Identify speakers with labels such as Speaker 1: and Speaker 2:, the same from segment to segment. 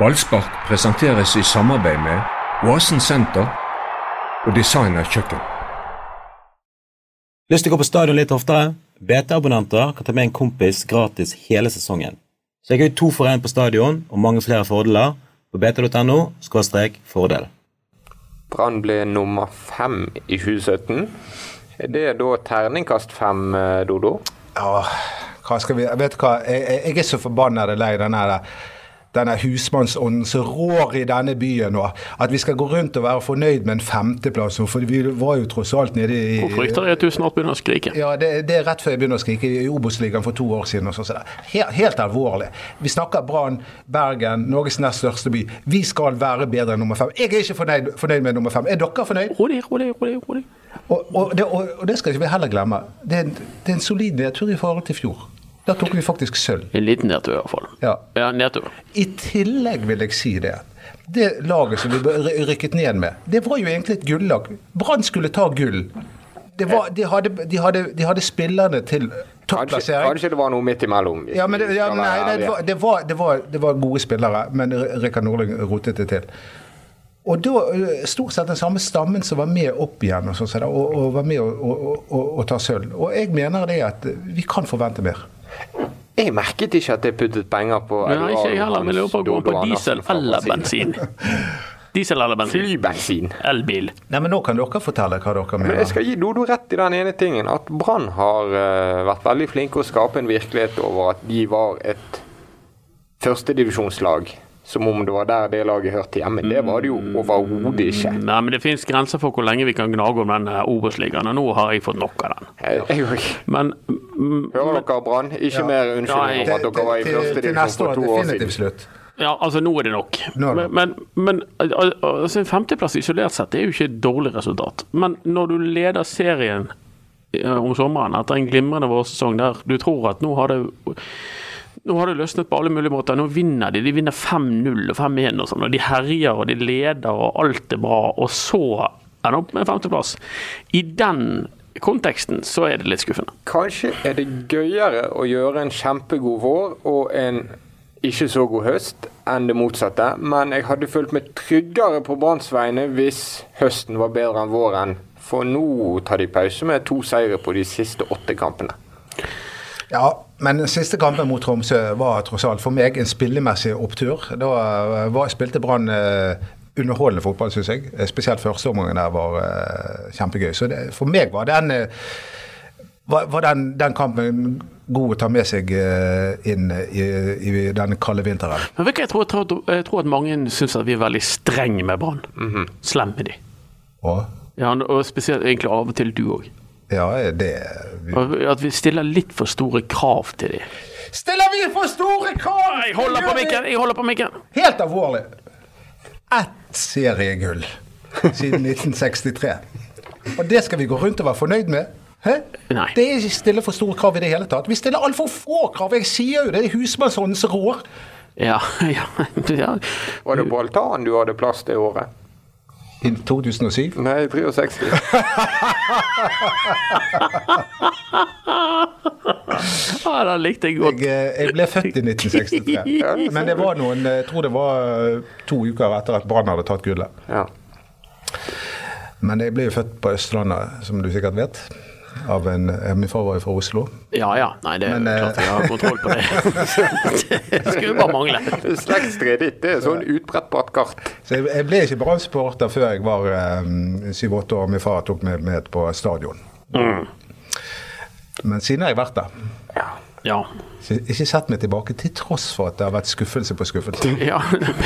Speaker 1: Ballspark presenteres i samarbeid med Oasen Senter og Designer Kjøkken.
Speaker 2: Lyst til å gå på stadion litt oftere? BT-abonnenter kan ta med en kompis gratis hele sesongen. Sjekk ut to for én på stadion og mange flere fordeler på bt.no fordel.
Speaker 3: Brann ble nummer fem i 2017. Er det da terningkast fem, eh, Dodo?
Speaker 4: Ja, hva skal vi Vet du hva, jeg, jeg- jeg er så forbanna lei den her denne husmannsånden som rår i denne byen nå. At vi skal gå rundt og være fornøyd med en femteplass nå, for vi var jo tross alt nede i
Speaker 5: Hun frykter at du snart begynner å skrike.
Speaker 4: Ja, det, det er rett før jeg begynner å skrike i Obos-ligaen for to år siden. og sånn sånn. Helt, helt alvorlig. Vi snakker Brann, Bergen, Norges nest største by. Vi skal være bedre enn nummer fem. Jeg er ikke fornøyd, fornøyd med nummer fem. Er dere fornøyd?
Speaker 5: Rolig, rolig, rolig. rolig.
Speaker 4: Og, og, det, og, og det skal ikke vi heller glemme. Det er en, det er en solid nedtur i forhold til fjor. Der tok vi faktisk sølv.
Speaker 5: En liten nedtur, i hvert fall.
Speaker 4: Ja.
Speaker 5: Ja, nedtur.
Speaker 4: I tillegg vil jeg si det. Det laget som vi ble rykket ned med, det var jo egentlig et gullag. Brann skulle ta gull. Det var, de, hadde, de, hadde, de hadde spillerne til
Speaker 3: Kanskje,
Speaker 4: topplassering.
Speaker 3: kanskje det var noe midt imellom. hvis
Speaker 4: Ja, men det,
Speaker 3: vi
Speaker 4: ja,
Speaker 3: skal
Speaker 4: nei,
Speaker 3: være
Speaker 4: nei, det,
Speaker 3: ærlige.
Speaker 4: var, det, var, det, var, det var gode spillere, men R- Rikard Nordling rotet det til. Og da ø, stort sett den samme stammen som var med opp igjen og, sånn som det, og, og var med å, å, å, å ta sølv. Og jeg mener det at vi kan forvente mer.
Speaker 3: Jeg merket ikke at jeg puttet penger på
Speaker 5: Nei, ikke jeg
Speaker 3: Eduardo
Speaker 5: heller. Men jeg lurer på altså, å gå
Speaker 3: Dodo
Speaker 5: på
Speaker 3: Andersen
Speaker 5: diesel
Speaker 3: fra
Speaker 5: eller
Speaker 3: Brasil.
Speaker 5: bensin. Diesel eller bensin.
Speaker 3: Flybensin.
Speaker 5: Elbil.
Speaker 4: Nei, men nå kan dere fortelle hva dere
Speaker 3: Men
Speaker 4: mener.
Speaker 3: jeg skal gi Dodo rett i den ene tingen, at Brann har eh, vært veldig flinke å skape en virkelighet over at de var et førstedivisjonslag. Som om det var der det laget hørte hjemme. Det var det jo
Speaker 5: Mm.
Speaker 3: overhodet ikke.
Speaker 5: Nei, men det fins grenser for hvor lenge vi kan gnage om den eh, Obos-ligaen, og nå har jeg fått nok av den.
Speaker 3: Jeg, jeg,
Speaker 5: Men mm,
Speaker 3: hører dere, Brann? Ikke mer unnskyldning om
Speaker 5: Nei.
Speaker 3: at dere var i
Speaker 4: Til, til, til
Speaker 3: førstedivisjon
Speaker 4: neste
Speaker 3: for
Speaker 4: år
Speaker 3: to år
Speaker 4: definitivt
Speaker 3: siden.
Speaker 4: slutt.
Speaker 5: ja, altså, nå er det nok.
Speaker 4: Nå er det
Speaker 5: Men, men, men al- al- altså, en femteplass isolert sett er jo ikke et dårlig resultat. Men når du leder serien eh, om sommeren etter en glimrende vårsesong der du tror at nå har det nå har det løsnet på alle mulige måter. Nå vinner de. De vinner 5-0 og 5-1 og sånn. Og de herjer og de leder og alt er bra. Og så ender opp med femteplass. I den konteksten så er det litt skuffende.
Speaker 3: Kanskje er det gøyere å gjøre en kjempegod vår og en ikke så god høst enn det motsatte, men jeg hadde følt meg tryggere på Branns vegne hvis høsten var bedre enn våren. For nå tar de pause med to seire på de siste åtte kampene.
Speaker 4: Ja, men den siste kampen mot Tromsø var tross alt for meg en spillemessig opptur. Da eh, var, spilte Brann eh, underholdende fotball, syns jeg. Eh, Spesielt første omgangen der var eh, kjempegøy. Så det, for meg var den eh, var, var den, den kampen god å ta med seg eh, inn i, i den kalde vinteren.
Speaker 5: Men vet du hva, jeg tror, jeg, tror, jeg tror at mange syns at vi er veldig strenge med Brann. Slem med de.
Speaker 4: Og
Speaker 5: Ja, og spesielt egentlig av og til du òg.
Speaker 4: ja, det
Speaker 5: At vi stiller litt for store krav til de.
Speaker 4: Stiller vi for store krav!
Speaker 5: Jeg holder på mikken! Jeg holder på mikken!
Speaker 4: Helt alvorlig. Ett seriegull siden 1963. Og det skal vi gå rundt og være fornøyd med. Hæ?
Speaker 5: Nei.
Speaker 4: Det er ikke stille for store krav i det hele tatt. Vi stiller altfor få krav. Jeg sier jo det, det er husmannsåndens rår.
Speaker 5: Ja, ja, ja.
Speaker 3: Var det på altanen du hadde plass det året?
Speaker 4: I 2007.
Speaker 3: Nei, 63.
Speaker 5: ja den likte jeg
Speaker 4: Jeg,
Speaker 5: godt.
Speaker 4: eh, jeg ble født i 1963. Men det var noen eh, Jeg tror det var eh, to uker etter at Brann hadde tatt gullet.
Speaker 3: Ja.
Speaker 4: Men jeg ble jo født på Østlandet, som du sikkert vet. Av en, eh, min far var jo fra Oslo.
Speaker 5: Ja ja. Nei, det er
Speaker 4: Men, eh,
Speaker 5: klart jeg har kontroll på det. det skulle bare mangle.
Speaker 3: Slektstreet ditt det er sånn utbrettbart kart.
Speaker 4: Så jeg, jeg ble ikke Brann-supporter før jeg var eh, syv-åtte år og min far tok meg med på stadion. Men siden har jeg vært der.
Speaker 5: Ja.
Speaker 4: Så jeg har ikke sett meg tilbake, til tross for at det har vært skuffelse på skuffelse.
Speaker 5: ja.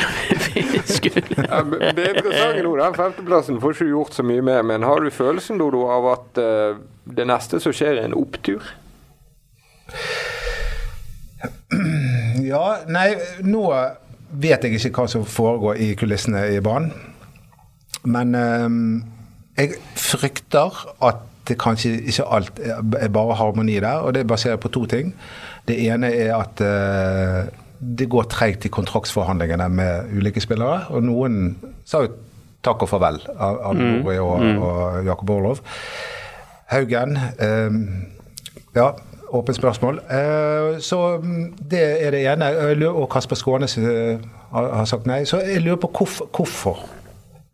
Speaker 5: vi skulle
Speaker 3: Ja, men Det interessante nå, den femteplassen får ikke du gjort så mye med, men har du følelsen, Dodo, av at eh, det neste som skjer, er en opptur?
Speaker 4: Ja, nei, nå vet jeg ikke hva som foregår i kulissene i banen. Men eh, jeg frykter at det kanskje ikke alt er bare harmoni der, og det baserer jeg på to ting. Det ene er at eh, det går treigt i kontraktsforhandlingene med ulike spillere, og noen sa jo takk og farvel av av Nori og, og Jakob Orlov. Haugen eh, ehm, ja, Åpent spørsmål. Eh, Så mm, det er det ene. Og jeg lurer- Og Kasper Skånes eh, har har sagt nei. Så jeg lurer på hvorf- hvorfor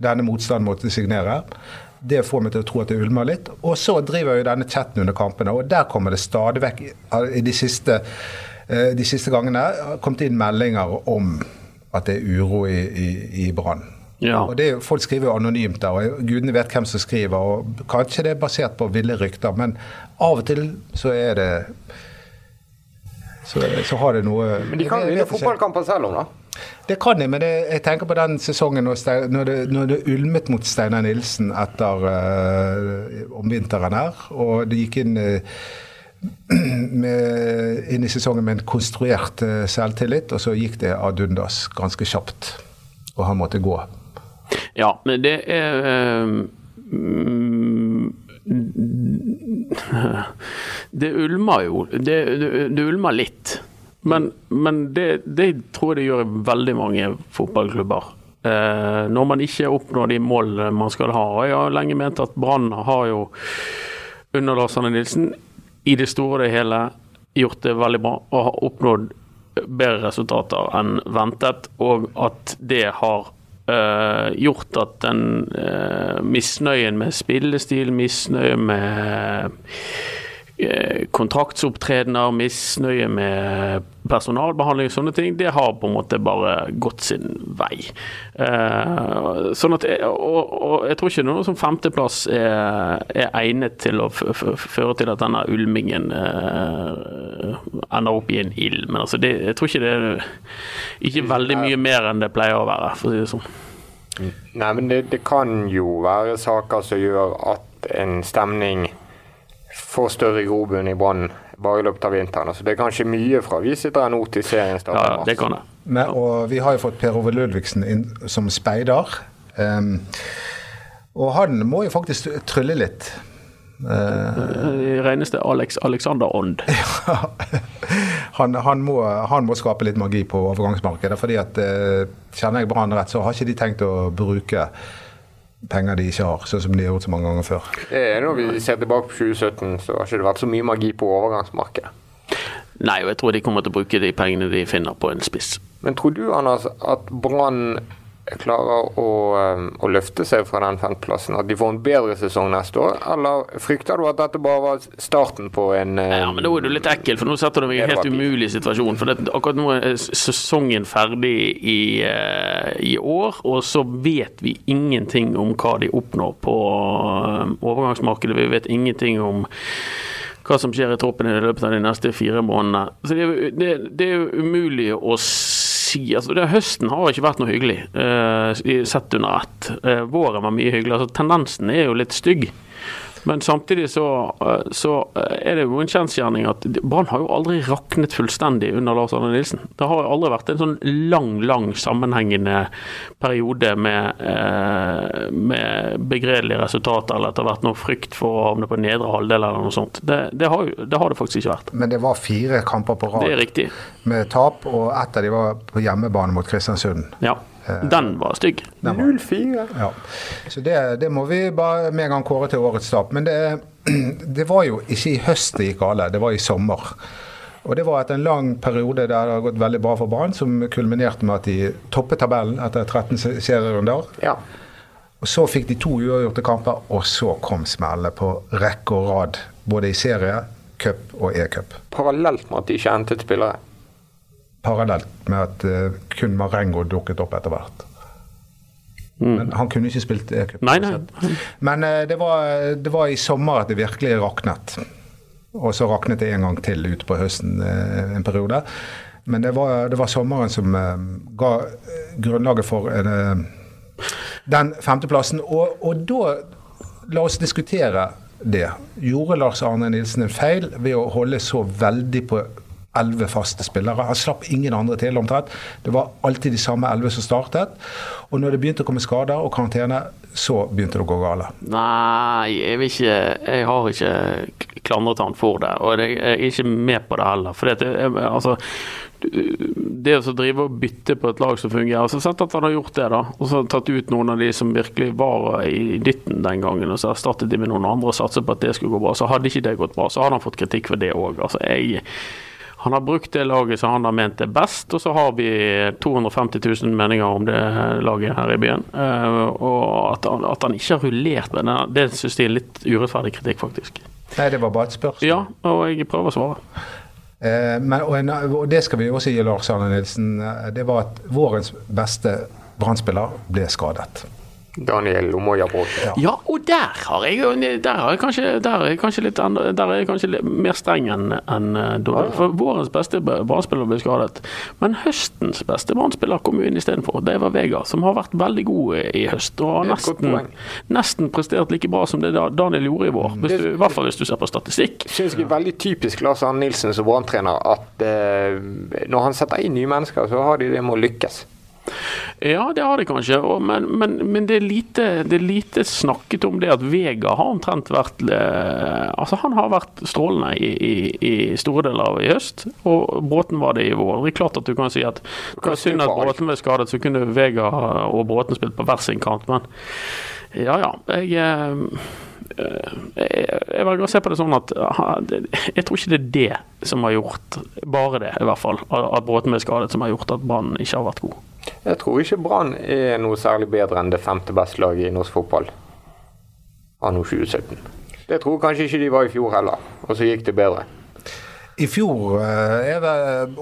Speaker 4: denne motstanden mot å signere. Det får meg til å tro at det ulmer litt. Og så driver jo denne chatten under kampene, og der kommer det stadig vekk i- i de siste, eh, de siste gangene har kommet inn meldinger om at det er uro i, i, i Brann.
Speaker 5: Ja.
Speaker 4: Og det, er jo- folk skriver jo anonymt der, og gudene vet hvem som skriver. og Kanskje det er basert på ville rykter, men av og til så er det så, er det- så har det noe
Speaker 3: Men de kan
Speaker 4: Jeg
Speaker 3: jo
Speaker 4: vet
Speaker 3: vinne
Speaker 4: ikke.
Speaker 3: fotballkamper selv om, da.
Speaker 4: Det kan de, men det, jeg tenker på den sesongen når, Stein, når, det, når det ulmet mot Steinar Nilsen etter eh, om vinteren her. Og det gikk inn, eh, med, inn i sesongen med en konstruert eh, selvtillit, og så gikk det ad undas ganske kjapt. Og han måtte gå.
Speaker 5: Ja, men det er eh, mm, Det ulmer jo. Det, det, det ulmer litt. Men, men det, det tror jeg det gjør i veldig mange fotballklubber. Eh, når man ikke oppnår de målene man skal ha. Og Jeg har lenge ment at Brann har jo under Lars Arne Nilsen i det store og det hele gjort det veldig bra og har oppnådd bedre resultater enn ventet, og at det har øh, gjort at den øh, misnøyen med spillestil, misnøye med øh, kontraktsopptredener, misnøye med personalbehandling og sånne ting, det har på en måte bare gått sin vei. Eh, sånn at, og, og jeg tror ikke noe som femteplass er, er egnet til å f- f- føre til at denne ulmingen eh, ender opp i en ild. Men altså, det, jeg tror ikke det er ikke veldig mye mer enn det pleier å være, for å si det sånn.
Speaker 3: Nei, men det, det kan jo være saker som gjør at en stemning får større grobunn i Brann bare i løpet av vinteren. Altså, det er kanskje mye fra vi sitter her nå til serien
Speaker 5: Ja,
Speaker 3: starter i mars.
Speaker 5: det kan det.
Speaker 4: Men, og vi har jo fått Per Ove Ludvigsen inn som speider. Ehm, og han må jo faktisk trylle litt.
Speaker 5: Eh, Reneste Alex Alexander-ånd.
Speaker 4: han, han, må, han må skape litt magi på overgangsmarkedet. fordi at eh, Kjenner jeg Brann rett, så har ikke de tenkt å bruke penger de ikke har, sånn som de har gjort så mange ganger før.
Speaker 3: Det er Når vi ser tilbake på 2017, så har ikke det vært så mye magi på overgangsmarkedet.
Speaker 5: Nei, og jeg tror de kommer til å bruke de pengene de finner på en spiss.
Speaker 3: Men tror du, Anders, at Brann klarer å, eh, å løfte seg fra den femteplassen? At de får en bedre sesong neste år? Eller frykter du at dette bare var starten på en eh,
Speaker 5: Ja, men da er du litt ekkel, for nå setter du meg i en helt umulig situasjon. For det, akkurat nå er sesongen ferdig i, eh, i år, og så vet vi ingenting om hva de oppnår på eh, overgangsmarkedet. Vi vet ingenting om hva som skjer i troppen i løpet av de neste fire månedene. Så det, er jo- det, det er jo umulig å si. Altså, det, høsten har ikke vært noe hyggelig, eh, sett under ett. Eh, våren var mye hyggelig. Altså, tendensen er jo litt stygg. Men samtidig så, eh, så er det jo en kjensgjerning at Brann har jo aldri raknet fullstendig under Lars Arne Nilsen. Det har jo aldri vært en sånn lang, lang sammenhengende periode med, eh, med begredelige resultater, eller at det har vært noe frykt for å havne på nedre halvdel eller noe sånt. Det, det, har, jo- det har det faktisk ikke vært.
Speaker 4: Men det var fire kamper på
Speaker 5: Det er
Speaker 4: rad
Speaker 5: riktig.
Speaker 4: med tap, og ett av de var på hjemmebane mot Kristiansund.
Speaker 5: Ja. Eh. Den var stygg.
Speaker 3: 0-4?
Speaker 4: Ja. Så det, det må vi bare med en gang kåre til årets tap. Men det, det var jo ikke i høst det gikk galt, det var i sommer. Og det var etter en lang periode der det har gått veldig bra for Brann, som kulminerte med at de toppet tabellen etter 13 se- serierunder.
Speaker 3: Ja.
Speaker 4: Og Så fikk de to uavgjorte kamper, og så kom smellet på rekke og rad. Både i serie, cup og e-cup.
Speaker 3: Parallelt med at de ikke hentet spillere.
Speaker 4: Parallelt med at eh, kun Marengo dukket opp etter hvert. Men han kunne ikke spilt e-cup.
Speaker 5: Mm. Nei, nei.
Speaker 4: Men eh, det var, det var i sommer at det virkelig raknet. Og så raknet det en gang til ute på høsten eh, en periode. Men det var, det var sommeren som eh, ga eh, grunnlaget for en, eh, den femteplassen. Og, og da La oss diskutere det. Gjorde Lars Arne Nilsen en feil ved å holde så veldig på elleve faste spillere. Han slapp ingen andre til omtrent. Det var alltid de samme elleve som startet. Og når det begynte å komme skader og karantene, så begynte det å gå galt.
Speaker 5: Nei, jeg, vil ikke, jeg har ikke k- klandret han for det, og jeg er ikke med på det heller. For det, altså, det å så drive og bytte på et lag som fungerer altså, Sett at han har gjort det, da, og så tatt ut noen av de som virkelig var i dytten den gangen, og så erstattet de med noen andre og satset på at det skulle gå bra. Så hadde ikke det gått bra, så hadde han fått kritikk for det òg. Altså, jeg- han har brukt det laget som han har ment er best, og så har vi 250 000 meninger om det laget her i byen. Eh, Og at han, at han ikke har rullert med den, det synes jeg er litt urettferdig kritikk, faktisk.
Speaker 4: Nei, det var bare et spørsmål.
Speaker 5: Ja, og jeg prøver å svare.
Speaker 4: Eh, men, og, en, og det skal vi også gi Lars Arne Nilsen. eh, Det var at vårens beste Brann-spiller ble skadet.
Speaker 3: Daniel Lomoya Bråten.
Speaker 5: Ja, og der har jeg, jo- der har jeg, kanskje, der er jeg kanskje litt enda- der er jeg kanskje litt mer streng enn enn, eh, da. For vårens beste brannspiller ble skadet. Men høstens beste brannspiller kom jo inn istedenfor. Det var Vega, som har vært veldig god i høst. Og har
Speaker 3: Det er et godt
Speaker 5: nesten,
Speaker 3: poeng.
Speaker 5: nesten prestert like bra som det da Daniel gjorde i vår. Hvis du, I hvert fall hvis du ser på statistikk.
Speaker 3: synes jeg er veldig typisk Lars Arne Nilsen som branntrener at eh, når han setter inn nye mennesker, så har de det med å lykkes.
Speaker 5: Ja, det har de kanskje, og, men, men, men det, er lite, det er lite snakket om det at Vega har omtrent vært eh, Altså, han har vært strålende i, i, i store deler av i høst, og Bråten var det i vår. Det er klart at du kan si at det var
Speaker 3: Kaster
Speaker 5: synd at
Speaker 3: på alt.
Speaker 5: Bråten ble skadet, så kunne Vega og Bråten spilt på hver sin kant, men ja ja. Jeg eh, jeg, jeg velger å se på det sånn at ha, det- jeg tror ikke det er det som har gjort, bare det i hvert fall, at at Bråten ble skadet, som har gjort at Brann ikke har vært god.
Speaker 3: Jeg tror ikke Brann er noe særlig bedre enn det femte beste laget i norsk fotball anno 2017. Det tror jeg kanskje ikke de var i fjor heller, og så gikk det bedre.
Speaker 4: I fjor eh, er det,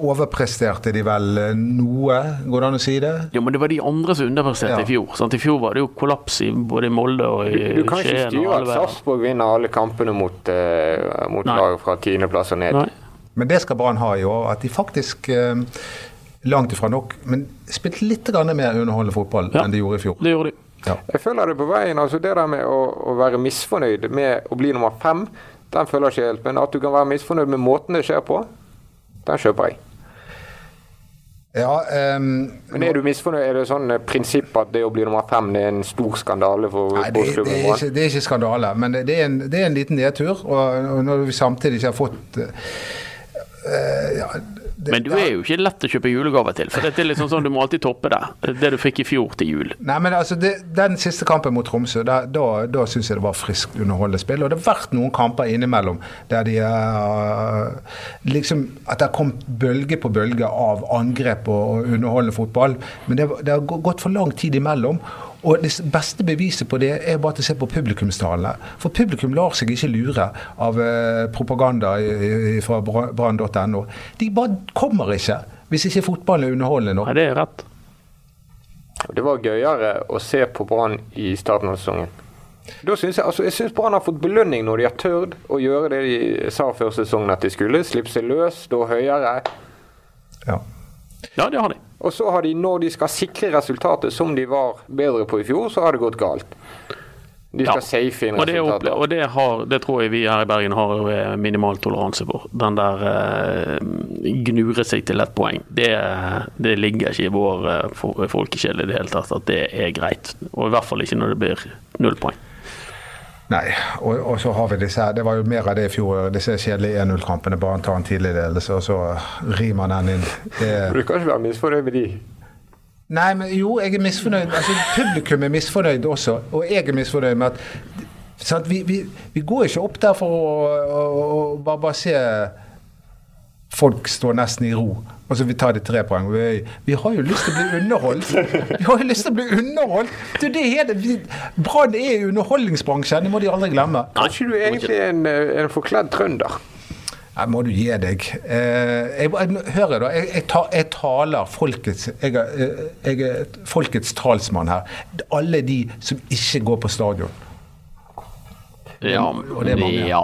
Speaker 4: overpresterte de vel eh, noe, går det an å si det?
Speaker 5: Jo, men det var de andre som underpresterte
Speaker 4: Ja.
Speaker 5: i fjor. Sant? I fjor var det jo kollaps i både i Molde og i
Speaker 3: Du, du kan ikke
Speaker 5: Skien. og
Speaker 3: styre
Speaker 5: alle
Speaker 3: at
Speaker 5: veier.
Speaker 3: Sarpsborg vinner alle kampene mot, uh, mot
Speaker 5: Nei.
Speaker 3: laget fra tiendeplass og ned.
Speaker 5: Nei.
Speaker 4: Men det skal Brann ha i år, at de faktisk eh, Langt ifra nok, men spilte litt grann mer underholdende fotball
Speaker 5: Ja.
Speaker 4: enn de gjorde i fjor.
Speaker 5: Det gjorde de.
Speaker 4: Ja.
Speaker 3: Jeg føler det på veien. altså Det der med å, å være misfornøyd med å bli nummer fem, den føler jeg ikke helt. Men at du kan være misfornøyd med måten det skjer på, den kjøper jeg.
Speaker 4: Ja, ehm,
Speaker 3: Men er du misfornøyd? Er det sånn eh, prinsipp at det å bli nummer fem det er en stor skandale for
Speaker 4: Nei, det, det,
Speaker 3: sportsklubben
Speaker 4: er ikke,
Speaker 3: Brann?
Speaker 4: det er ikke skandale, men det er en, det er en liten nedtur. Og, og når vi samtidig ikke har fått eh, eh, ja, det,
Speaker 5: Men du er jo ikke lett å kjøpe julegave til. For dette er liksom sånn, du må alltid toppe det. Det du fikk i fjor til jul.
Speaker 4: Nei, men altså, det, Den siste kampen mot Tromsø, da, da, da syns jeg det var friskt underholdende spill. Og det har vært noen kamper innimellom der de eh, liksom At det har kommet bølge på bølge av angrep og, og underholdende fotball. Men det, det har gå- gått for lang tid imellom. Og det s- beste beviset på det er bare til å se på publikumstallene. For publikum lar seg ikke lure av eh, propaganda i, i, fra bra- brann.no. De bare kommer ikke hvis ikke fotballen er underholdende nok.
Speaker 5: Nei, det er rett.
Speaker 3: Det var gøyere å se på Brann i starten av sesongen. Da synes jeg altså, jeg syns Brann har fått belønning når de har tørt å gjøre det de sa før sesongen at de skulle. Slippe seg løs, stå høyere.
Speaker 4: Ja.
Speaker 5: Ja, det har de.
Speaker 3: Og så har de, når de skal sikre resultatet som de var bedre på i fjor, så har det gått galt. De
Speaker 5: Ja.
Speaker 3: skal safe inn
Speaker 5: Og, det, opple-
Speaker 3: resultatet.
Speaker 5: og det, har, det tror jeg vi her i Bergen har eh, minimal toleranse for. Den der eh, gnure seg til ett poeng. Det, det ligger ikke i vår eh, fo- folkesjel i det hele tatt at det er greit. Og i hvert fall ikke når det blir null poeng.
Speaker 4: Nei, og, og så har vi disse her. Det var jo mer av det i fjor. Disse kjedelige 1-0-kampene. Bare ta en tidlig ledelse, og så rir man den inn. Det,
Speaker 3: Du kan ikke være misfornøyd med de.
Speaker 4: nei, men jo, jeg er misfornøyd. Altså, publikum er misfornøyd også. Og jeg er misfornøyd med at sant, vi, vi, vi går ikke opp der for å, å, å bare, bare se folk står nesten i ro. Og så vi tar de tre poeng. Vi, vi har jo lyst til å bli underholdt. Vi har jo lyst til å bli underholdt! Du, det er det. vi- Brann er underholdningsbransjen, det må de aldri glemme.
Speaker 5: Nei,
Speaker 3: Kanskje du er egentlig en, eh, en forkledd trønder?
Speaker 4: Nei, må du gi deg. Eh, jeg, jeg, hører da, jeg, jeg, ta, jeg taler folkets jeg, er- eh, jeg er et folkets talsmann her. Alle de som ikke går på stadion.
Speaker 5: Ja,
Speaker 4: Og det er mange.
Speaker 5: ja,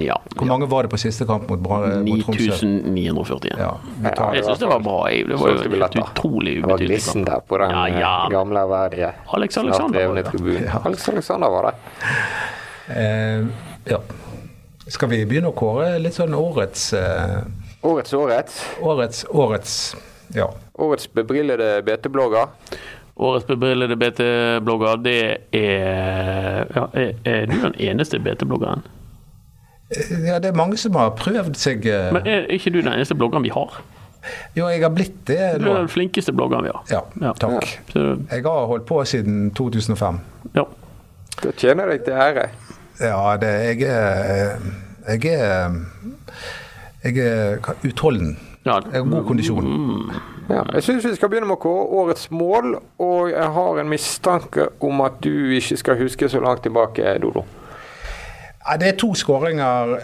Speaker 5: ja.
Speaker 4: Hvor mange var det på siste kamp mot, Bra- mot Tromsø?
Speaker 5: 9941.
Speaker 4: Ja, vi tar
Speaker 5: Jeg syns det var bra. jeg. Det var
Speaker 3: Solgte
Speaker 5: jo en helt
Speaker 3: billetter.
Speaker 5: utrolig
Speaker 3: Det var
Speaker 5: ubetydelig
Speaker 3: glissen
Speaker 5: kamp.
Speaker 3: der på den
Speaker 5: Ja, ja.
Speaker 3: eh, gamle ærverdige
Speaker 5: Alex Alexander var
Speaker 3: snart
Speaker 5: det.
Speaker 3: levende tribunen.
Speaker 4: Ja.
Speaker 3: Alex Alexander var det.
Speaker 4: Eh, ja. Skal vi begynne å kåre litt sånn årets eh,
Speaker 3: Årets årets.
Speaker 4: Årets årets Ja.
Speaker 3: Årets bebrillede BT-blogger.
Speaker 5: Årets bebrillede BT-blogger, det er ja, Er, er du den eneste BT-bloggeren?
Speaker 4: Eh, ja det er mange som har prøvd seg eh,
Speaker 5: Men er ikke du den eneste bloggeren vi har?
Speaker 4: Jo, jeg har blitt det
Speaker 5: Du
Speaker 4: nå.
Speaker 5: er den flinkeste bloggeren vi har.
Speaker 4: Ja, takk.
Speaker 5: Så,
Speaker 4: Jeg har holdt på siden 2005.
Speaker 5: ja.
Speaker 3: Da tjener deg til ære.
Speaker 4: Ja, det Jeg er Jeg er, jeg er utholden.
Speaker 5: Ja.
Speaker 4: Jeg har god kondisjon.
Speaker 3: Ja, jeg syns vi skal begynne med å kåre årets mål, og jeg har en mistanke om at du ikke skal huske så langt tilbake, Dodo.
Speaker 4: Ja, det er to skåringer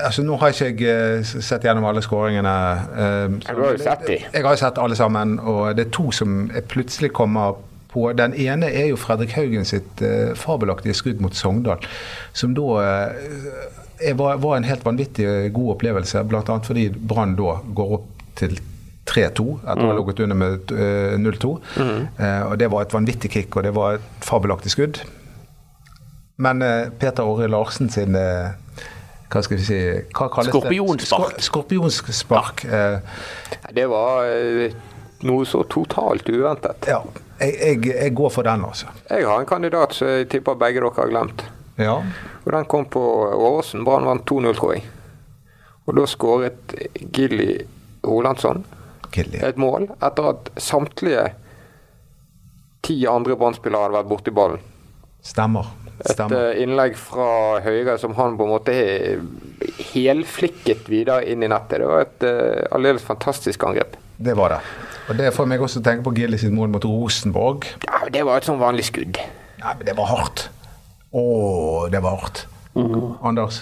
Speaker 4: Altså, Nå har ikke jeg eh, sett gjennom alle skåringene. eh,
Speaker 3: Ja, du har jo sett de.
Speaker 4: Jeg har jo sett alle sammen, og det er to som jeg plutselig kommer på. Den ene er jo Fredrik Haugen sitt eh, fabelaktige skudd mot Sogndal, som da eh, er- var, var en helt vanvittig eh, god opplevelse, bl.a. fordi Brann da går opp til 3-2 etter
Speaker 3: Mm.
Speaker 4: å ha ligget under med eh, 0-2. Eh, og Det var et vanvittig kick, og det var et fabelaktig skudd. Men eh, Peter Åre Larsen sin eh, hva skal vi si hva kalles det?
Speaker 5: Skorpionspark.
Speaker 4: Skor- Skorpionspark. Eh,
Speaker 3: Det var eh, noe så totalt uventet.
Speaker 4: ja, jeg, jeg, jeg går for den, altså.
Speaker 3: Jeg har en kandidat som jeg tipper begge dere har glemt.
Speaker 4: Ja.
Speaker 3: Og den kom på Åråsen. Brann vant 2-0, tror jeg. Og da skåret Gilly Rolandsson
Speaker 4: Gilly.
Speaker 3: et mål etter at samtlige ti andre Brann-spillere hadde vært borti ballen.
Speaker 4: Stemmer.
Speaker 3: Et
Speaker 4: Stemmer.
Speaker 3: eh, innlegg fra høyre som han på en måte he- helflikket videre inn i nettet. Det var et eh, aldeles fantastisk angrep.
Speaker 4: Det var det. Og Det får meg også til å tenke på Gilly sitt mål mot Rosenborg.
Speaker 3: Ja, men Det var et sånn vanlig skudd.
Speaker 4: Nei, men det var hardt. Å, det var hardt.
Speaker 5: Mm.
Speaker 4: Anders?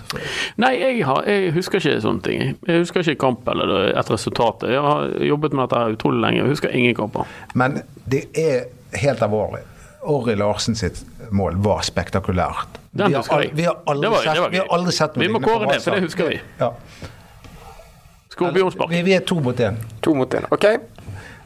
Speaker 5: Nei, jeg, har, jeg husker ikke sånne ting. jeg. Jeg husker ikke kamp eller et resultat. Jeg har jobbet med dette her utrolig lenge. Jeg husker ingen kamper.
Speaker 4: Men det er helt alvorlig. Orri Larsen sitt mål var spektakulært.
Speaker 5: Den
Speaker 4: vi, har
Speaker 5: husker
Speaker 4: al-
Speaker 5: jeg.
Speaker 4: vi har aldri
Speaker 5: Det var-
Speaker 4: sett,
Speaker 5: det var
Speaker 4: vi har
Speaker 5: gøy.
Speaker 4: aldri sett noe
Speaker 5: Vi må
Speaker 4: lignende på
Speaker 5: kåre det,
Speaker 4: Vasa.
Speaker 5: for det husker vi.
Speaker 4: Ja.
Speaker 5: Skorpionspark.
Speaker 4: Vi, vi er to mot én.
Speaker 3: To mot én. OK,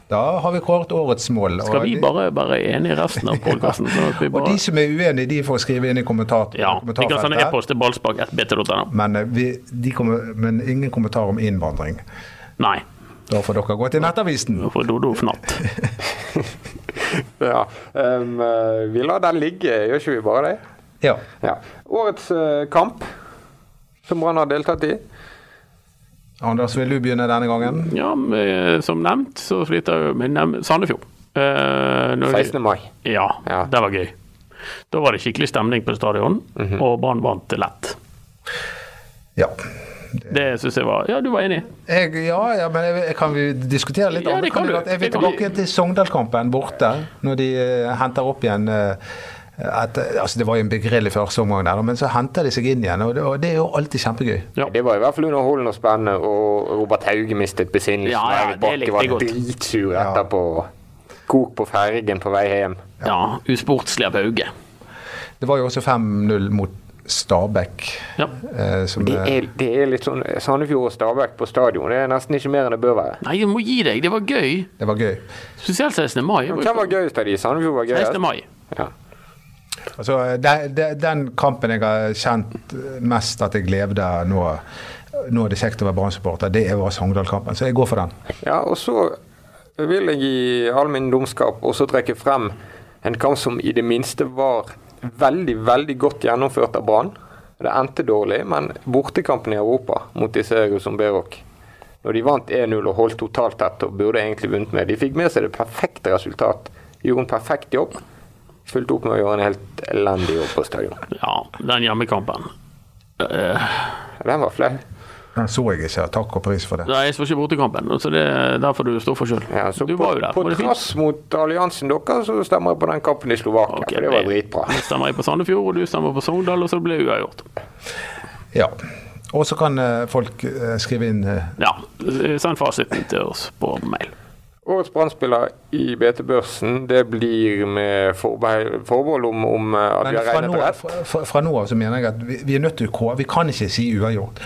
Speaker 4: Da har vi kåret årets mål. og
Speaker 5: Skal vi
Speaker 4: de-
Speaker 5: bare være enige i resten av podkasten? Sånn at vi
Speaker 4: Og
Speaker 5: bare
Speaker 4: de som er uenige, de får skrive inn i kommentar,
Speaker 5: Ja. sånn De kan sende
Speaker 4: kommentarfeltet.
Speaker 5: e-post til ballspark1bt.no.
Speaker 4: Men, eh, vi, de kommer, men ingen kommentar om innvandring.
Speaker 5: Nei.
Speaker 4: Da får dere gå til Nettavisen.
Speaker 5: Nå får Dodo fnatt.
Speaker 3: ja. em, eh, vi lar den ligge, gjør ikke vi bare det?
Speaker 4: Ja.
Speaker 3: Ja. Årets eh, kamp som Brann har deltatt i.
Speaker 4: Anders, vil du begynne denne gangen?
Speaker 5: Ja, men, eh, som nevnt så sliter jeg med nev- Sandefjord. Eh, når de-
Speaker 3: 16. mai.
Speaker 5: Ja,
Speaker 3: Ja.
Speaker 5: det var gøy. Da var det skikkelig stemning på stadion,
Speaker 3: Mhm.
Speaker 5: og Brann vant lett.
Speaker 4: Ja.
Speaker 5: Det syns jeg var Ja, du var enig?
Speaker 4: Jeg, ja, ja, men jeg, jeg kan vi diskutere litt
Speaker 5: Ja,
Speaker 4: andre
Speaker 5: det kan du.
Speaker 4: kandidater? Jeg vil
Speaker 5: Det kan vi.
Speaker 4: tilbake til Sogndal-kampen borte, når de eh, henter opp igjen eh, et, altså Det var jo en begredelig første omgang, der, men så henter de seg inn igjen. Og det, og det er jo alltid kjempegøy.
Speaker 5: Ja.
Speaker 3: Det var i hvert fall underholdende og spennende, og Robert Hauge mistet besinnelsen.
Speaker 5: Ja,
Speaker 3: og Erik
Speaker 5: ja, det
Speaker 3: Bakke
Speaker 5: likte
Speaker 3: var
Speaker 5: jeg godt.
Speaker 3: dritsur etterpå. Kok på fergen på vei hjem.
Speaker 5: Ja, usportslig av Hauge.
Speaker 4: Det var jo også 5-0 mot Stabæk.
Speaker 5: Ja.
Speaker 4: eh, som,
Speaker 3: Det
Speaker 4: eh,
Speaker 3: er, det er litt sånn Sandefjord og Stabæk på stadion. Det er nesten ikke mer enn det bør være.
Speaker 5: Nei, jeg må gi deg. Det var gøy.
Speaker 4: eh, det var gøy.
Speaker 5: Spesielt 16. mai.
Speaker 3: Men Hvem var sånn. gøyest av de? Sandefjord var
Speaker 5: 16.
Speaker 3: gøyest.
Speaker 5: mai.
Speaker 3: Ja.
Speaker 4: Altså, de, de, den kampen jeg har kjent mest at jeg levde nå Nå er det kjekt å være Brann-supporter, det var Sogndal-kampen. Så jeg går for den.
Speaker 3: ja, og så vil jeg i all min dumskap også trekke frem en kamp som i det minste var veldig, veldig godt gjennomført av Brann. Det endte dårlig, men bortekampen i Europa mot disse som Berok Når de vant 1-0 og holdt totalt tett og burde egentlig vunnet med. De fikk med seg det perfekte resultat. Gjorde en perfekt jobb. Fulgte opp med å gjøre en helt elendig jobb på stadion.
Speaker 5: Ja, den hjemmekampen. Eh,
Speaker 3: Den var flau.
Speaker 4: Den så jeg ikke. Takk og pris for det.
Speaker 5: Nei, jeg så ikke bortekampen, så det, der får du stå for sjøl.
Speaker 3: Ja, så
Speaker 5: Du
Speaker 3: på,
Speaker 5: var jo der.
Speaker 3: på
Speaker 5: Var det fint?
Speaker 3: trass mot alliansen deres, så stemmer jeg på den kampen i Slovakia.
Speaker 5: Ok,
Speaker 3: for det var
Speaker 5: det-
Speaker 3: dritbra.
Speaker 5: Jeg stemmer på Sandefjord, og du stemmer på Sogndal, og så ble det uavgjort.
Speaker 4: Ja. Og så kan eh, folk eh, skrive inn eh,
Speaker 5: Ja, send fasiten til oss på mail.
Speaker 3: Årets brannspiller i BT-børsen, det blir med forbehold, forbehold om, om eh, at vi
Speaker 4: Men
Speaker 3: har
Speaker 4: fra
Speaker 3: regnet
Speaker 4: nå,
Speaker 3: det rett.
Speaker 4: fra, fra- fra nå av så mener jeg at vi, vi er nødt til å kå- Vi kan ikke si uavgjort.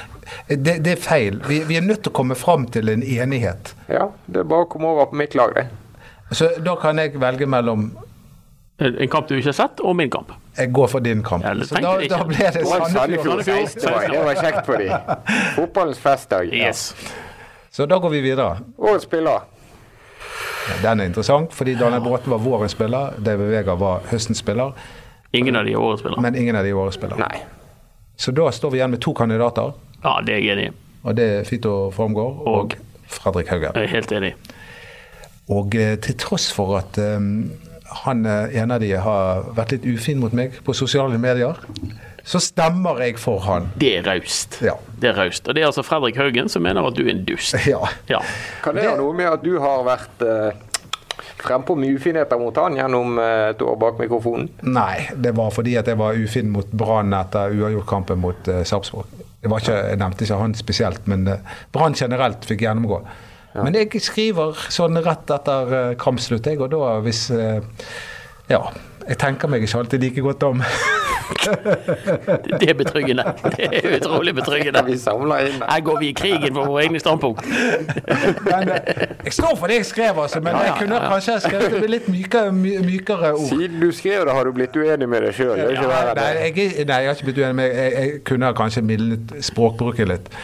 Speaker 4: Eh, Det, det er feil. Vi, vi er nødt til å komme fram til en enighet.
Speaker 3: Ja, det er bare å komme over på mitt lag, det.
Speaker 4: Så da kan jeg velge mellom
Speaker 5: En en kamp du ikke har sett, og min kamp.
Speaker 4: Jeg går for din kamp.
Speaker 5: Ja, det
Speaker 4: Så
Speaker 5: tenkte
Speaker 4: da,
Speaker 5: jeg ikke.
Speaker 4: da ble det
Speaker 3: Og
Speaker 4: Sandefjord.
Speaker 3: Sandefjord 16
Speaker 5: Sandefjord.
Speaker 3: mai, det var kjekt for de. Fotballens festdag. ja.
Speaker 5: Yes.
Speaker 4: Så da går vi videre.
Speaker 3: Årets spiller.
Speaker 4: Den er interessant, fordi Daniel Bråten var vårens spiller, David Vega var høstens spiller,
Speaker 5: Ingen av de er årets spillere.
Speaker 4: men ingen av de er årets spiller.
Speaker 3: Nei.
Speaker 4: Så da står vi igjen med to kandidater,
Speaker 5: Ja, det er jeg enig i.
Speaker 4: og det er Fito Formgård og
Speaker 5: Og-
Speaker 4: Fredrik Haugen.
Speaker 5: Jeg er helt enig.
Speaker 4: Og eh, til tross for at eh, han eh, ene av de har vært litt ufin mot meg på sosiale medier, så stemmer jeg for han.
Speaker 5: Det er raust.
Speaker 4: Ja.
Speaker 5: Det er raust. Og det er altså Fredrik Haugen som mener at du er en dust.
Speaker 4: Ja.
Speaker 5: Ja.
Speaker 3: Kan det ha noe med at du har vært eh, frempå med ufinheter mot han gjennom eh, et år bak mikrofonen?
Speaker 4: Nei, det var fordi at jeg var ufin mot Brann etter uavgjortkampen mot eh, Sarpsborg. Det var ikke, jeg nevnte ikke han spesielt, men eh, Brann generelt fikk gjennomgå. Men jeg skriver sånn rett etter eh, kampslutt, jeg, og da hvis eh, Ja. Jeg tenker meg ikke alltid like godt om.
Speaker 5: Det er betryggende. Det er utrolig betryggende.
Speaker 3: Vi samler inn det.
Speaker 5: Her går vi i krigen for våre egne standpunkt.
Speaker 4: Men eh, jeg står for det jeg skrev, altså. Men jeg kunne kanskje skrevet det med litt mykere, my, mykere ord.
Speaker 3: Siden du skrev det, har du blitt uenig med deg sjøl.
Speaker 4: Nei,
Speaker 3: Ja,
Speaker 4: jeg, er- nei, jeg har ikke blitt uenig med Jeg, jeg kunne kanskje mildnet språkbruket litt.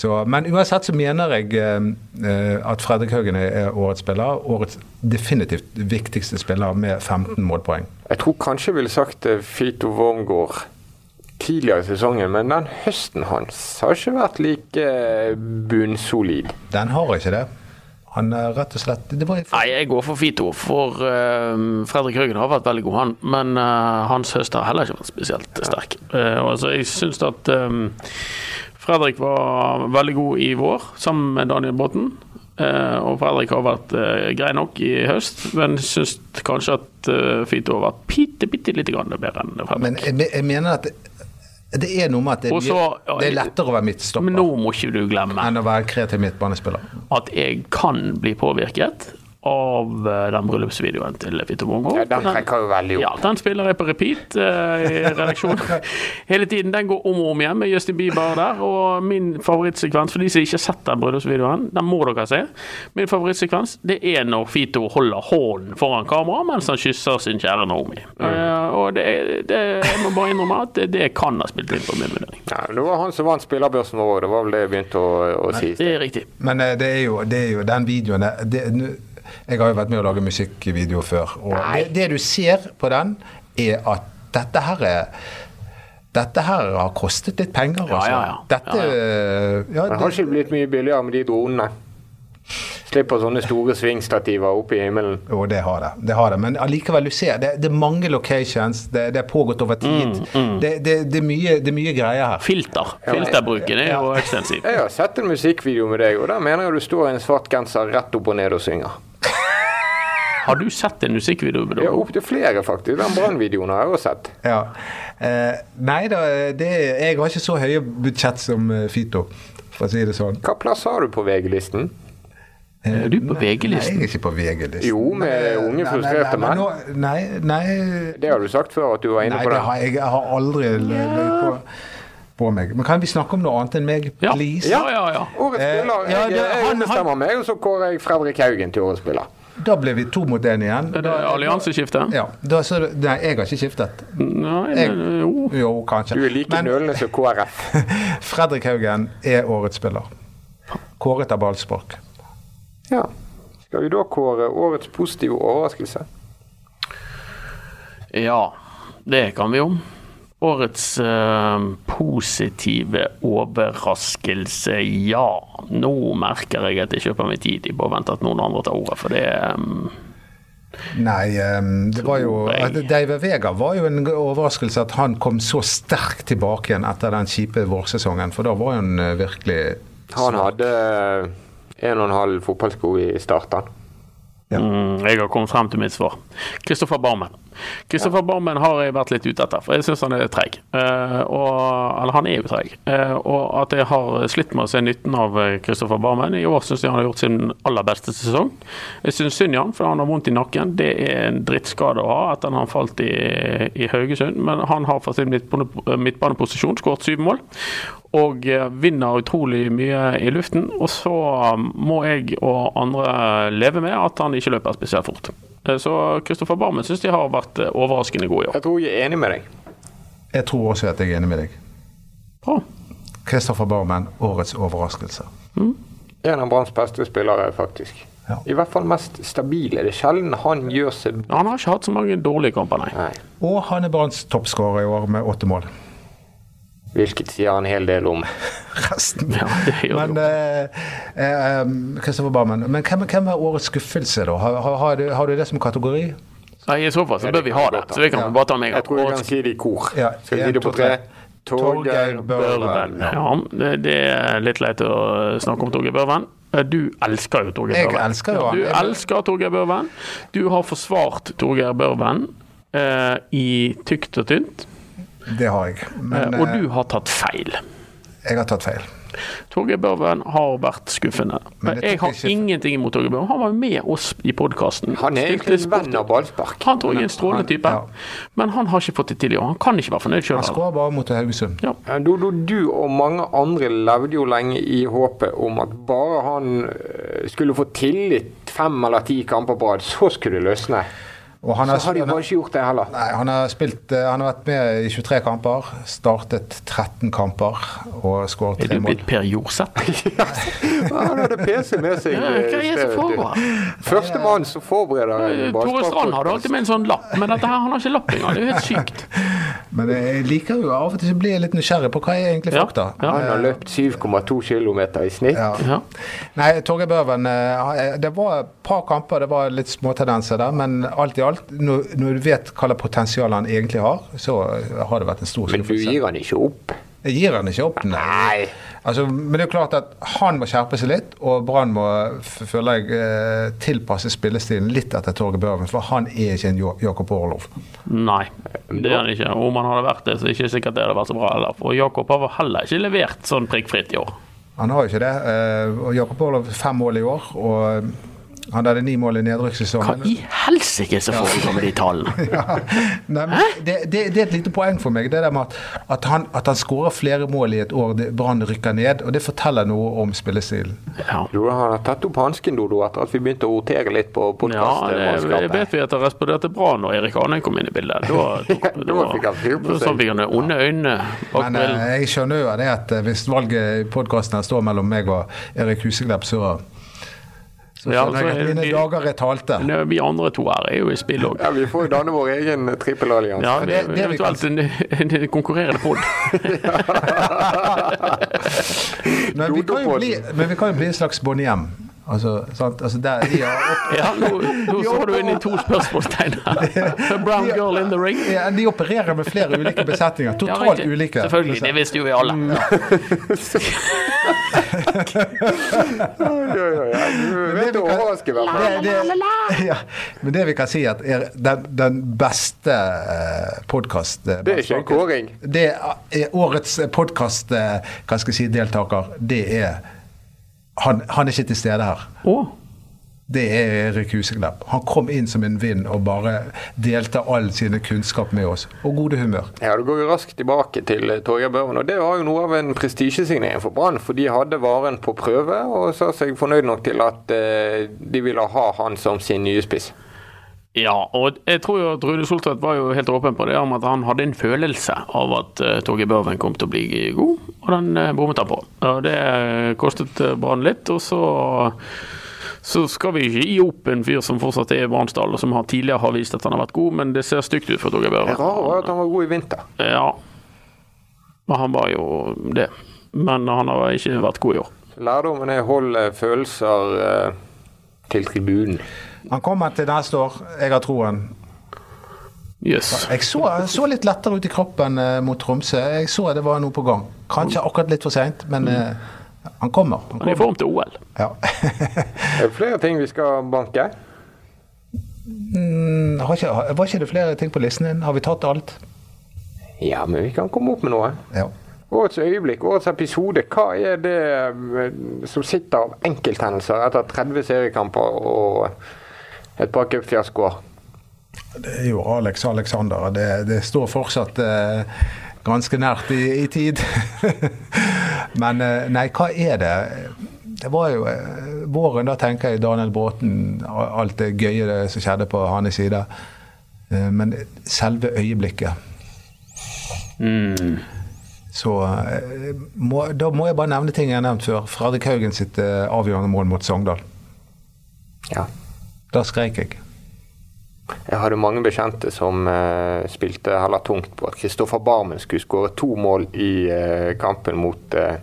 Speaker 4: Så, men uansett så mener jeg eh, eh, at Fredrik Haugen er er årets spiller. Årets definitivt viktigste spiller med 15 målpoeng.
Speaker 3: jeg tror kanskje jeg ville sagt eh, Fito Wormgård tidligere i sesongen, men den høsten hans har ikke vært like eh, bunnsolid.
Speaker 4: Den har ikke det. Han er rett og slett Det var
Speaker 5: Nei, jeg går for Fito, for eh, Fredrik Høgen har vært veldig god, han. Men eh, hans høst har heller ikke vært spesielt sterk. Eh, og altså, jeg syns at eh, Fredrik var veldig god i vår, sammen med Daniel Botten. Eh, og Fredrik har vært eh, grei nok i høst, men syns kanskje at eh, Fito har vært bitte, bitte lite grann bedre enn Fredrik.
Speaker 4: Men jeg, jeg mener at det, det er noe med at det,
Speaker 5: Og så-
Speaker 4: det er lettere å være
Speaker 5: Men
Speaker 4: midtstopper
Speaker 5: nå må ikke du glemme
Speaker 4: enn å være kreativ midtbanespiller.
Speaker 5: at jeg kan bli påvirket av eh, den bryllupsvideoen til Fito Mongo.
Speaker 3: Ja, den trekker jo veldig
Speaker 5: Ja,
Speaker 3: opp.
Speaker 5: den spiller jeg på repeat eh, i redaksjonen hele tiden. Den går om og om igjen med Justin Bieber der. Og min favorittsekvens, for de som ikke har sett den bryllupsvideoen, den må dere se. Min favorittsekvens det er når Fito holder hånden foran kamera mens han kysser sin kjære Naomi. Eh, og det, det, jeg må bare innrømme at det, det kan ha spilt inn på min vurdering.
Speaker 3: Ja, det var han som vant spillerbørsen vår òg, det var vel det jeg begynte å, å si.
Speaker 5: Det er riktig.
Speaker 4: Men eh, det er jo, det er jo den videoen eh, det, nu- Jeg har jo vært med å lage musikkvideo før, og det, det du ser på den, er at dette her er dette her har kostet litt penger, altså.
Speaker 5: ja, ja.
Speaker 4: Dette
Speaker 5: Ja,
Speaker 4: eh, ja,
Speaker 3: Men har
Speaker 4: det,
Speaker 3: ikke det blitt mye billigere med de dronene? Slipper sånne store svingstativer opp i himmelen.
Speaker 4: Jo, det har det. det har det. Men allikevel, du ser, det, det er mange locations. Det, det er pågått
Speaker 5: Mm,
Speaker 4: over tid. Det, det, det, er mye, det er mye greier her.
Speaker 5: Filter. Filterbruken er jo ekstensiv.
Speaker 3: Jeg har sett en musikkvideo med deg, og der mener jeg du står i en svart genser rett opp og ned og synger.
Speaker 5: Har du sett en musikkvideo? Bedo?
Speaker 3: Ja, opptil flere, faktisk. Den brannvideoen har jeg også sett.
Speaker 4: Ja. Eh, nei da, det, jeg har ikke så høye budsjett som eh, Fito, for å si det sånn. Eh,
Speaker 3: Hva plass har du på VG-listen?
Speaker 5: Er du på
Speaker 4: Nei,
Speaker 5: VG-listen?
Speaker 4: jeg er ikke på VG-listen.
Speaker 3: Jo, med
Speaker 4: eh,
Speaker 3: unge frustrerte
Speaker 4: nei,
Speaker 3: menn.
Speaker 4: Nei, nei, nei,
Speaker 3: Det har du sagt før at du var inne
Speaker 4: nei
Speaker 3: på
Speaker 4: det
Speaker 3: den.
Speaker 4: har jeg, jeg har aldri løyet på, på meg. Men kan vi snakke om noe annet enn meg,
Speaker 5: Ja.
Speaker 4: please?
Speaker 5: ja, ja, ja.
Speaker 3: Årets
Speaker 4: Eh,
Speaker 3: spiller.
Speaker 4: ja,
Speaker 3: Jeg,
Speaker 4: det- han-
Speaker 3: jeg bestemmer meg, og så kårer jeg Fredrik Haugen til årets spiller.
Speaker 4: Da ble vi to mot én igjen.
Speaker 5: Det er allianseskifte?
Speaker 4: Ja, da, så, nei, jeg har ikke skiftet.
Speaker 5: Nei,
Speaker 4: Jeg,
Speaker 5: men, jo.
Speaker 4: jo, kanskje.
Speaker 3: Du er like nølende som KrF.
Speaker 4: Fredrik Haugen er årets spiller. Kåret av ballspark.
Speaker 3: Ja. Skal vi da kåre årets positive overraskelse?
Speaker 5: Ja, det kan vi jo. Årets eh, positive overraskelse, ja. Nå merker jeg at jeg kjøper meg tid i påvente at noen andre tar ordet, for det eh,
Speaker 4: Nei, ehm, det var jo
Speaker 5: Tror jeg.
Speaker 4: at David Vega var jo en overraskelse at han kom så sterkt tilbake igjen etter den kjipe vårsesongen, for da var han eh, virkelig
Speaker 3: Han hadde eh, en og en halv fotballsko i starten.
Speaker 5: mm, Jeg har kommet frem til mitt svar. Kristoffer Barmen. Kristoffer Barmen har jeg vært litt ute etter, for jeg syns han er treig. Eh, og- eller han er jo treig. Eh, og at jeg har slitt med å se nytten av eh, Kristoffer Barmen. I år syns jeg han har gjort sin aller beste sesong. Jeg syns synd i han, for han har vondt i nakken. Det er en drittskade å ha etter at han falt i, i Haugesund. Men han har fra sin midtbane- midtbaneposisjon skåret syv mål. Og eh, vinner utrolig mye i luften. Og så um, må jeg og andre leve med at han ikke løper spesielt fort. Eh, Så Kristoffer Barmen syns de har vært eh, overraskende gode i år.
Speaker 3: Jeg tror jeg er enig med deg.
Speaker 4: Jeg tror også at jeg er enig med deg.
Speaker 5: Bra.
Speaker 4: Kristoffer Barmen, årets overraskelse.
Speaker 3: En av Branns beste spillere, faktisk.
Speaker 4: Ja.
Speaker 3: I hvert fall mest stabile. Det er sjelden han gjør seg
Speaker 5: Han har ikke hatt så mange dårlige kamper, nei.
Speaker 3: Nei.
Speaker 4: Og han er Branns toppskårer i år med åtte mål.
Speaker 3: Hvilket sier han en hel del om.
Speaker 4: Resten
Speaker 5: Ja, det gjør det
Speaker 4: Men
Speaker 5: jo.
Speaker 4: eh, eh, um, Kristoffer Barmen, men hvem, hvem er årets skuffelse, da? Har, har, har, du, har du det som kategori?
Speaker 5: Nei, I så fall så bør vi ha det. Så vi kan bare ta meg.
Speaker 3: Jeg tror vi kan si det i kor.
Speaker 4: Ja,
Speaker 3: Skal vi
Speaker 4: en,
Speaker 3: si det på
Speaker 4: to,
Speaker 3: tre?
Speaker 4: tre.
Speaker 3: Torgeir
Speaker 4: Torgeir
Speaker 3: Børven.
Speaker 4: Børven.
Speaker 5: Ja, det, det er litt leit å snakke om Torgeir Børven. Eh, Du elsker jo Torgeir
Speaker 4: Jeg
Speaker 5: Børven.
Speaker 4: elsker jo
Speaker 5: Ja,
Speaker 4: han.
Speaker 5: Du
Speaker 4: Jeg-
Speaker 5: elsker Torgeir Børven. Du har forsvart Torgeir Børven eh, i tykt og tynt,
Speaker 4: Det har jeg.
Speaker 5: eh,
Speaker 4: Men
Speaker 5: og
Speaker 4: eh,
Speaker 5: du har tatt feil.
Speaker 4: jeg har tatt feil.
Speaker 5: Torgeir Børven har vært skuffende.
Speaker 4: Men
Speaker 5: Men
Speaker 4: jeg
Speaker 5: jeg har
Speaker 4: tenker ikke-
Speaker 5: ingenting imot Torgeir Børven. Han var jo med oss i podkasten.
Speaker 3: Han er egentlig en venn av ballspark.
Speaker 5: Han tror jeg er en strålende type,
Speaker 4: ja.
Speaker 5: men han har ikke fått det til i år. Han kan ikke være fornøyd
Speaker 4: Han
Speaker 5: sjøl.
Speaker 4: skårer bare mot Haugesund.
Speaker 3: Ja, Dodo, du og mange andre levde jo lenge i håpet om at bare han eh, skulle få tillit fem eller ti kamper på rad, så skulle det løsne.
Speaker 4: Og han
Speaker 3: Så
Speaker 4: har,
Speaker 3: har de
Speaker 4: han,
Speaker 3: bare ikke gjort det heller.
Speaker 4: nei, han, har spilt, eh, han har vært med i 23 kamper, startet 13 kamper og skåret
Speaker 5: Er du
Speaker 4: tre mål.
Speaker 5: blitt Per Jorseth?
Speaker 3: Ja, Han hadde PC med seg. eh,
Speaker 5: Ja, hva er det som foregår? Eh,
Speaker 3: Førstemann som forbereder en
Speaker 5: Tore Strand hadde alltid med en sånn lapp, men dette her, han har ikke lapp engang. Det er jo helt sykt.
Speaker 4: Men jeg liker jo av og til å bli jeg litt nysgjerrig på hva er egentlig
Speaker 5: Ja,
Speaker 4: fakta.
Speaker 5: ja.
Speaker 3: Han har løpt 7,2 km i snitt.
Speaker 4: Ja.
Speaker 5: Ja.
Speaker 4: Nei, Torgeir Børven, eh, det var et par kamper, det var litt småtendenser der, men alt i alt, når, når du vet hva slags potensial han egentlig har, så har det vært en stor
Speaker 3: Men du
Speaker 4: skuffelse.
Speaker 3: gir han ikke opp.
Speaker 4: Jeg gir han ikke opp,
Speaker 3: Nei.
Speaker 4: Altså, men det er jo klart at han må skjerpe seg litt, og Brann må f- føler jeg, eh, tilpasse spillestilen litt etter Torgeir Børven, for han er ikke en Jo- Jakob Orlov.
Speaker 5: Nei, det er han ikke. Om han hadde vært det, så er det ikke sikkert det hadde vært så bra heller. For Jakob har heller ikke levert sånn prikkfritt i år.
Speaker 4: Han har jo ikke det. eh, Og Jakob Orlov fem mål i år, og han hadde ni mål i
Speaker 5: Hva
Speaker 4: nedrykkssesongen.
Speaker 5: i helsike som foregår med de tallene?
Speaker 4: Ja. Nei, men det, det, det er et lite poeng for meg, det der med at, at han, at han skårer flere mål i et år det- Brann rykker ned, og det forteller noe om spillestilen.
Speaker 5: Ja.
Speaker 3: Jo, han har tatt opp hansken, Dodo, etter at vi begynte å rotere litt på
Speaker 5: Ja, det det
Speaker 3: podkastmannskapet.
Speaker 5: vet vi at han responderte bra når Erik Arnheim kom inn i bildet. Da, da,
Speaker 3: da fikk han fyr på
Speaker 5: da-
Speaker 3: seg.
Speaker 5: så fikk han det onde øynene bak
Speaker 4: Men eh,
Speaker 5: brillen.
Speaker 4: jeg skjønner jo det at eh, hvis valget i podkasten her står mellom meg og Erik Huseklepp, så så
Speaker 5: Ja,
Speaker 4: skjønner
Speaker 5: så
Speaker 4: jeg
Speaker 5: er
Speaker 4: at mine
Speaker 5: det-
Speaker 4: dager er talte.
Speaker 5: Nå, Vi andre to her er jo i spill òg.
Speaker 3: Ja, vi får jo danne vår egen trippelallianse.
Speaker 5: Ja, vi er
Speaker 4: det- det vi
Speaker 5: eventuelt en, en konkurrerende pod.
Speaker 4: Men vi kan jo
Speaker 3: Dodopodden.
Speaker 4: bli, men vi kan jo bli en slags Bonnie M. Altså, sant? altså der de har opp,
Speaker 5: Ja, nå, nå så du inn i to spørsmålstegn her. A Brown girl in the ring.
Speaker 4: ja, de opererer med flere ulike besetninger.
Speaker 5: Ja,
Speaker 4: Totalt
Speaker 5: riktig.
Speaker 4: ulike.
Speaker 5: Selvfølgelig, det visste jo vi alle.
Speaker 3: Ja, ja, ja. Du vet å overraske, i hvert fall.
Speaker 4: Det- det- Ja, men det vi kan si, at er den, den beste eh, podkast... eh,
Speaker 3: Det er ikke en kåring.
Speaker 4: Det er årets podkast, hva skal jeg si, deltaker. Det er han, han er ikke til stede her.
Speaker 5: Å,
Speaker 4: Det er Erik Huseklepp. Han kom inn som en vind og bare delte all sine kunnskap med oss. Og gode humør.
Speaker 3: Ja, Da går vi raskt tilbake til eh, Torgeir Børven. og Det var jo noe av en prestisjesignering for Brann. For de hadde varen på prøve og sa seg fornøyd nok til at eh, de ville ha han som sin nye spiss.
Speaker 5: Ja, og jeg tror jo at Rune Soltvedt var jo helt åpen på det om at han hadde en følelse av at uh, Torgeir Børven kom til å bli god, og den eh, bommet han på. Og det eh, kostet eh, Brann litt, og så så skal vi ikke gi opp en fyr som fortsatt er i Bransdal, og som har tidligere har vist at han har vært god, men det ser stygt ut for Torgeir
Speaker 3: Det
Speaker 5: Børven.
Speaker 3: rare var at han var god i vinter.
Speaker 5: Ja. Men han var jo det. Men han har ikke vært god i år.
Speaker 3: Lærdommen er hold eh, følelser eh, til tribunen.
Speaker 4: Han kommer til neste år. Jeg har troen.
Speaker 5: Jøss. Yes.
Speaker 4: Jeg så, han så litt lettere ut i kroppen eh, mot Tromsø. Jeg så det var noe på gang. Kanskje akkurat litt for seint, men eh, han kommer. Han
Speaker 5: Han er i
Speaker 4: kommer.
Speaker 5: form til OL.
Speaker 4: Ja.
Speaker 3: Er det flere ting vi skal banke?
Speaker 4: Mm, Har ikke, har- var ikke det flere ting på listen din? Har vi tatt alt?
Speaker 3: Ja, men vi kan komme opp med noe.
Speaker 4: Ja.
Speaker 3: Årets øyeblikk, årets episode. Hva er det eh, som sitter av enkelthendelser etter 30 seriekamper og et par cupfiaskoer?
Speaker 4: Det er Eh, jo Alex Alexander. og Det, det står fortsatt eh, ganske nært i, i tid. Men eh, nei, hva er det? Det var jo eh, våren, da tenker jeg Daniel Bråten, a- alt det gøye det som skjedde på hans side. Eh, Men selve øyeblikket Så eh, må, da må jeg bare nevne ting jeg har nevnt før. Fredrik Haugen sitt eh, avgjørende mål mot Sogndal.
Speaker 3: Ja.
Speaker 4: Da skreik jeg.
Speaker 3: Jeg hadde mange bekjente som eh, spilte heller tungt på at Kristoffer Barmen skulle skåre to mål i eh, kampen mot eh,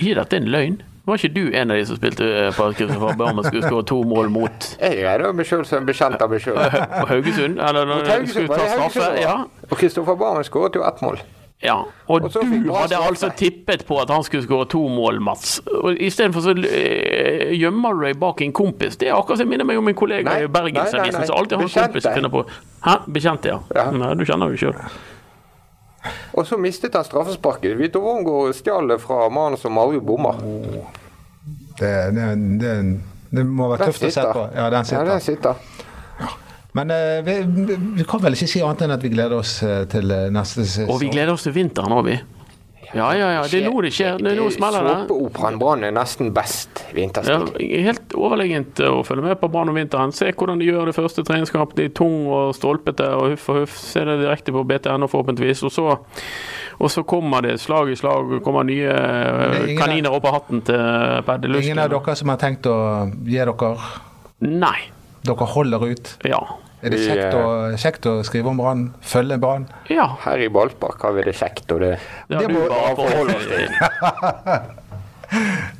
Speaker 5: Gi dette en løgn. Var ikke du en av de som spilte eh, på at Kristoffer Barmen skulle skåre to måmål mot
Speaker 3: Jeg greide meg sjøl som en bekjent av meg sjøl.
Speaker 5: Hø- Haugesund? Eller når de skulle ta straffe? Ja.
Speaker 3: Og Kristoffer Barmen skåret jo ett mål.
Speaker 5: ja. Og
Speaker 3: Og så fikk
Speaker 5: du
Speaker 3: Brann
Speaker 5: hadde
Speaker 3: straffe.
Speaker 5: altså tippet på at han skulle skåre to mål, Mats. Og Istedenfor så eh, gjemmer du deg bak en kompis. Det er akkurat som jeg minner meg om en kollega
Speaker 3: Nei, nei, nei,
Speaker 5: i
Speaker 3: nei.
Speaker 5: Bergensavisen som alltid har en kompis som
Speaker 3: Bekjente.
Speaker 5: finner på Hæ? Bekjente, ja.
Speaker 3: Ja.
Speaker 5: Nei, du kjenner jo sjøl.
Speaker 3: Og så mistet han straffesparket. Vito Wormgård stjal det fra mannen som aldri bommer.
Speaker 4: Det, det, det, det må være tøft å se på. Ja,
Speaker 3: Ja,
Speaker 4: den sitter.
Speaker 3: den sitter.
Speaker 4: Men eh, vi, vi kan vel ikke si annet enn at vi gleder oss eh, til eh, neste sesong.
Speaker 5: Og vi gleder oss til vinteren òg, vi. Ja, ja, ja. Det er nå det skjer. Det er nå det smeller det.
Speaker 3: Såpeoperaen Brann er nesten best
Speaker 5: Ja,
Speaker 3: vinterstid.
Speaker 5: helt overlegent å følge med på Brann om vinteren. Se hvordan de gjør det første treningskamp. De er tung og stolpete og huff og huff. Se det direkte på BTN forhåpentligvis. Og så, og så kommer det slag i slag. og kommer nye
Speaker 4: er
Speaker 5: eh,
Speaker 4: ingen-
Speaker 5: kaniner opp av hatten til
Speaker 4: Ingen av
Speaker 5: Paddelusken.
Speaker 4: dere som har tenkt å gi dere
Speaker 5: Nei.
Speaker 4: Dere holder ut.
Speaker 5: Ja.
Speaker 4: Er det
Speaker 3: Vi,
Speaker 4: kjekt å, kjekt å skrive om Brann? Følge Brann?
Speaker 5: Ja.
Speaker 3: Her i ballpark har vi det kjekt, og det
Speaker 5: Det har
Speaker 4: Det
Speaker 5: du
Speaker 4: må-
Speaker 5: bare forholdt deg til.